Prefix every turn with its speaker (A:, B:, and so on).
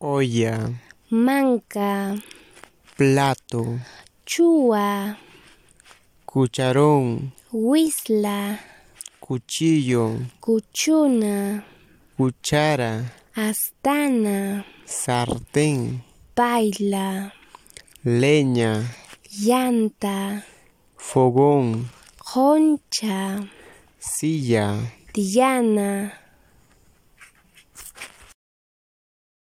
A: olla,
B: manca,
A: plato,
B: chua,
A: cucharón,
B: huisla,
A: cuchillo,
B: cuchuna,
A: cuchara,
B: astana,
A: sartén,
B: baila,
A: leña,
B: llanta,
A: fogón,
B: joncha,
A: silla,
B: diana,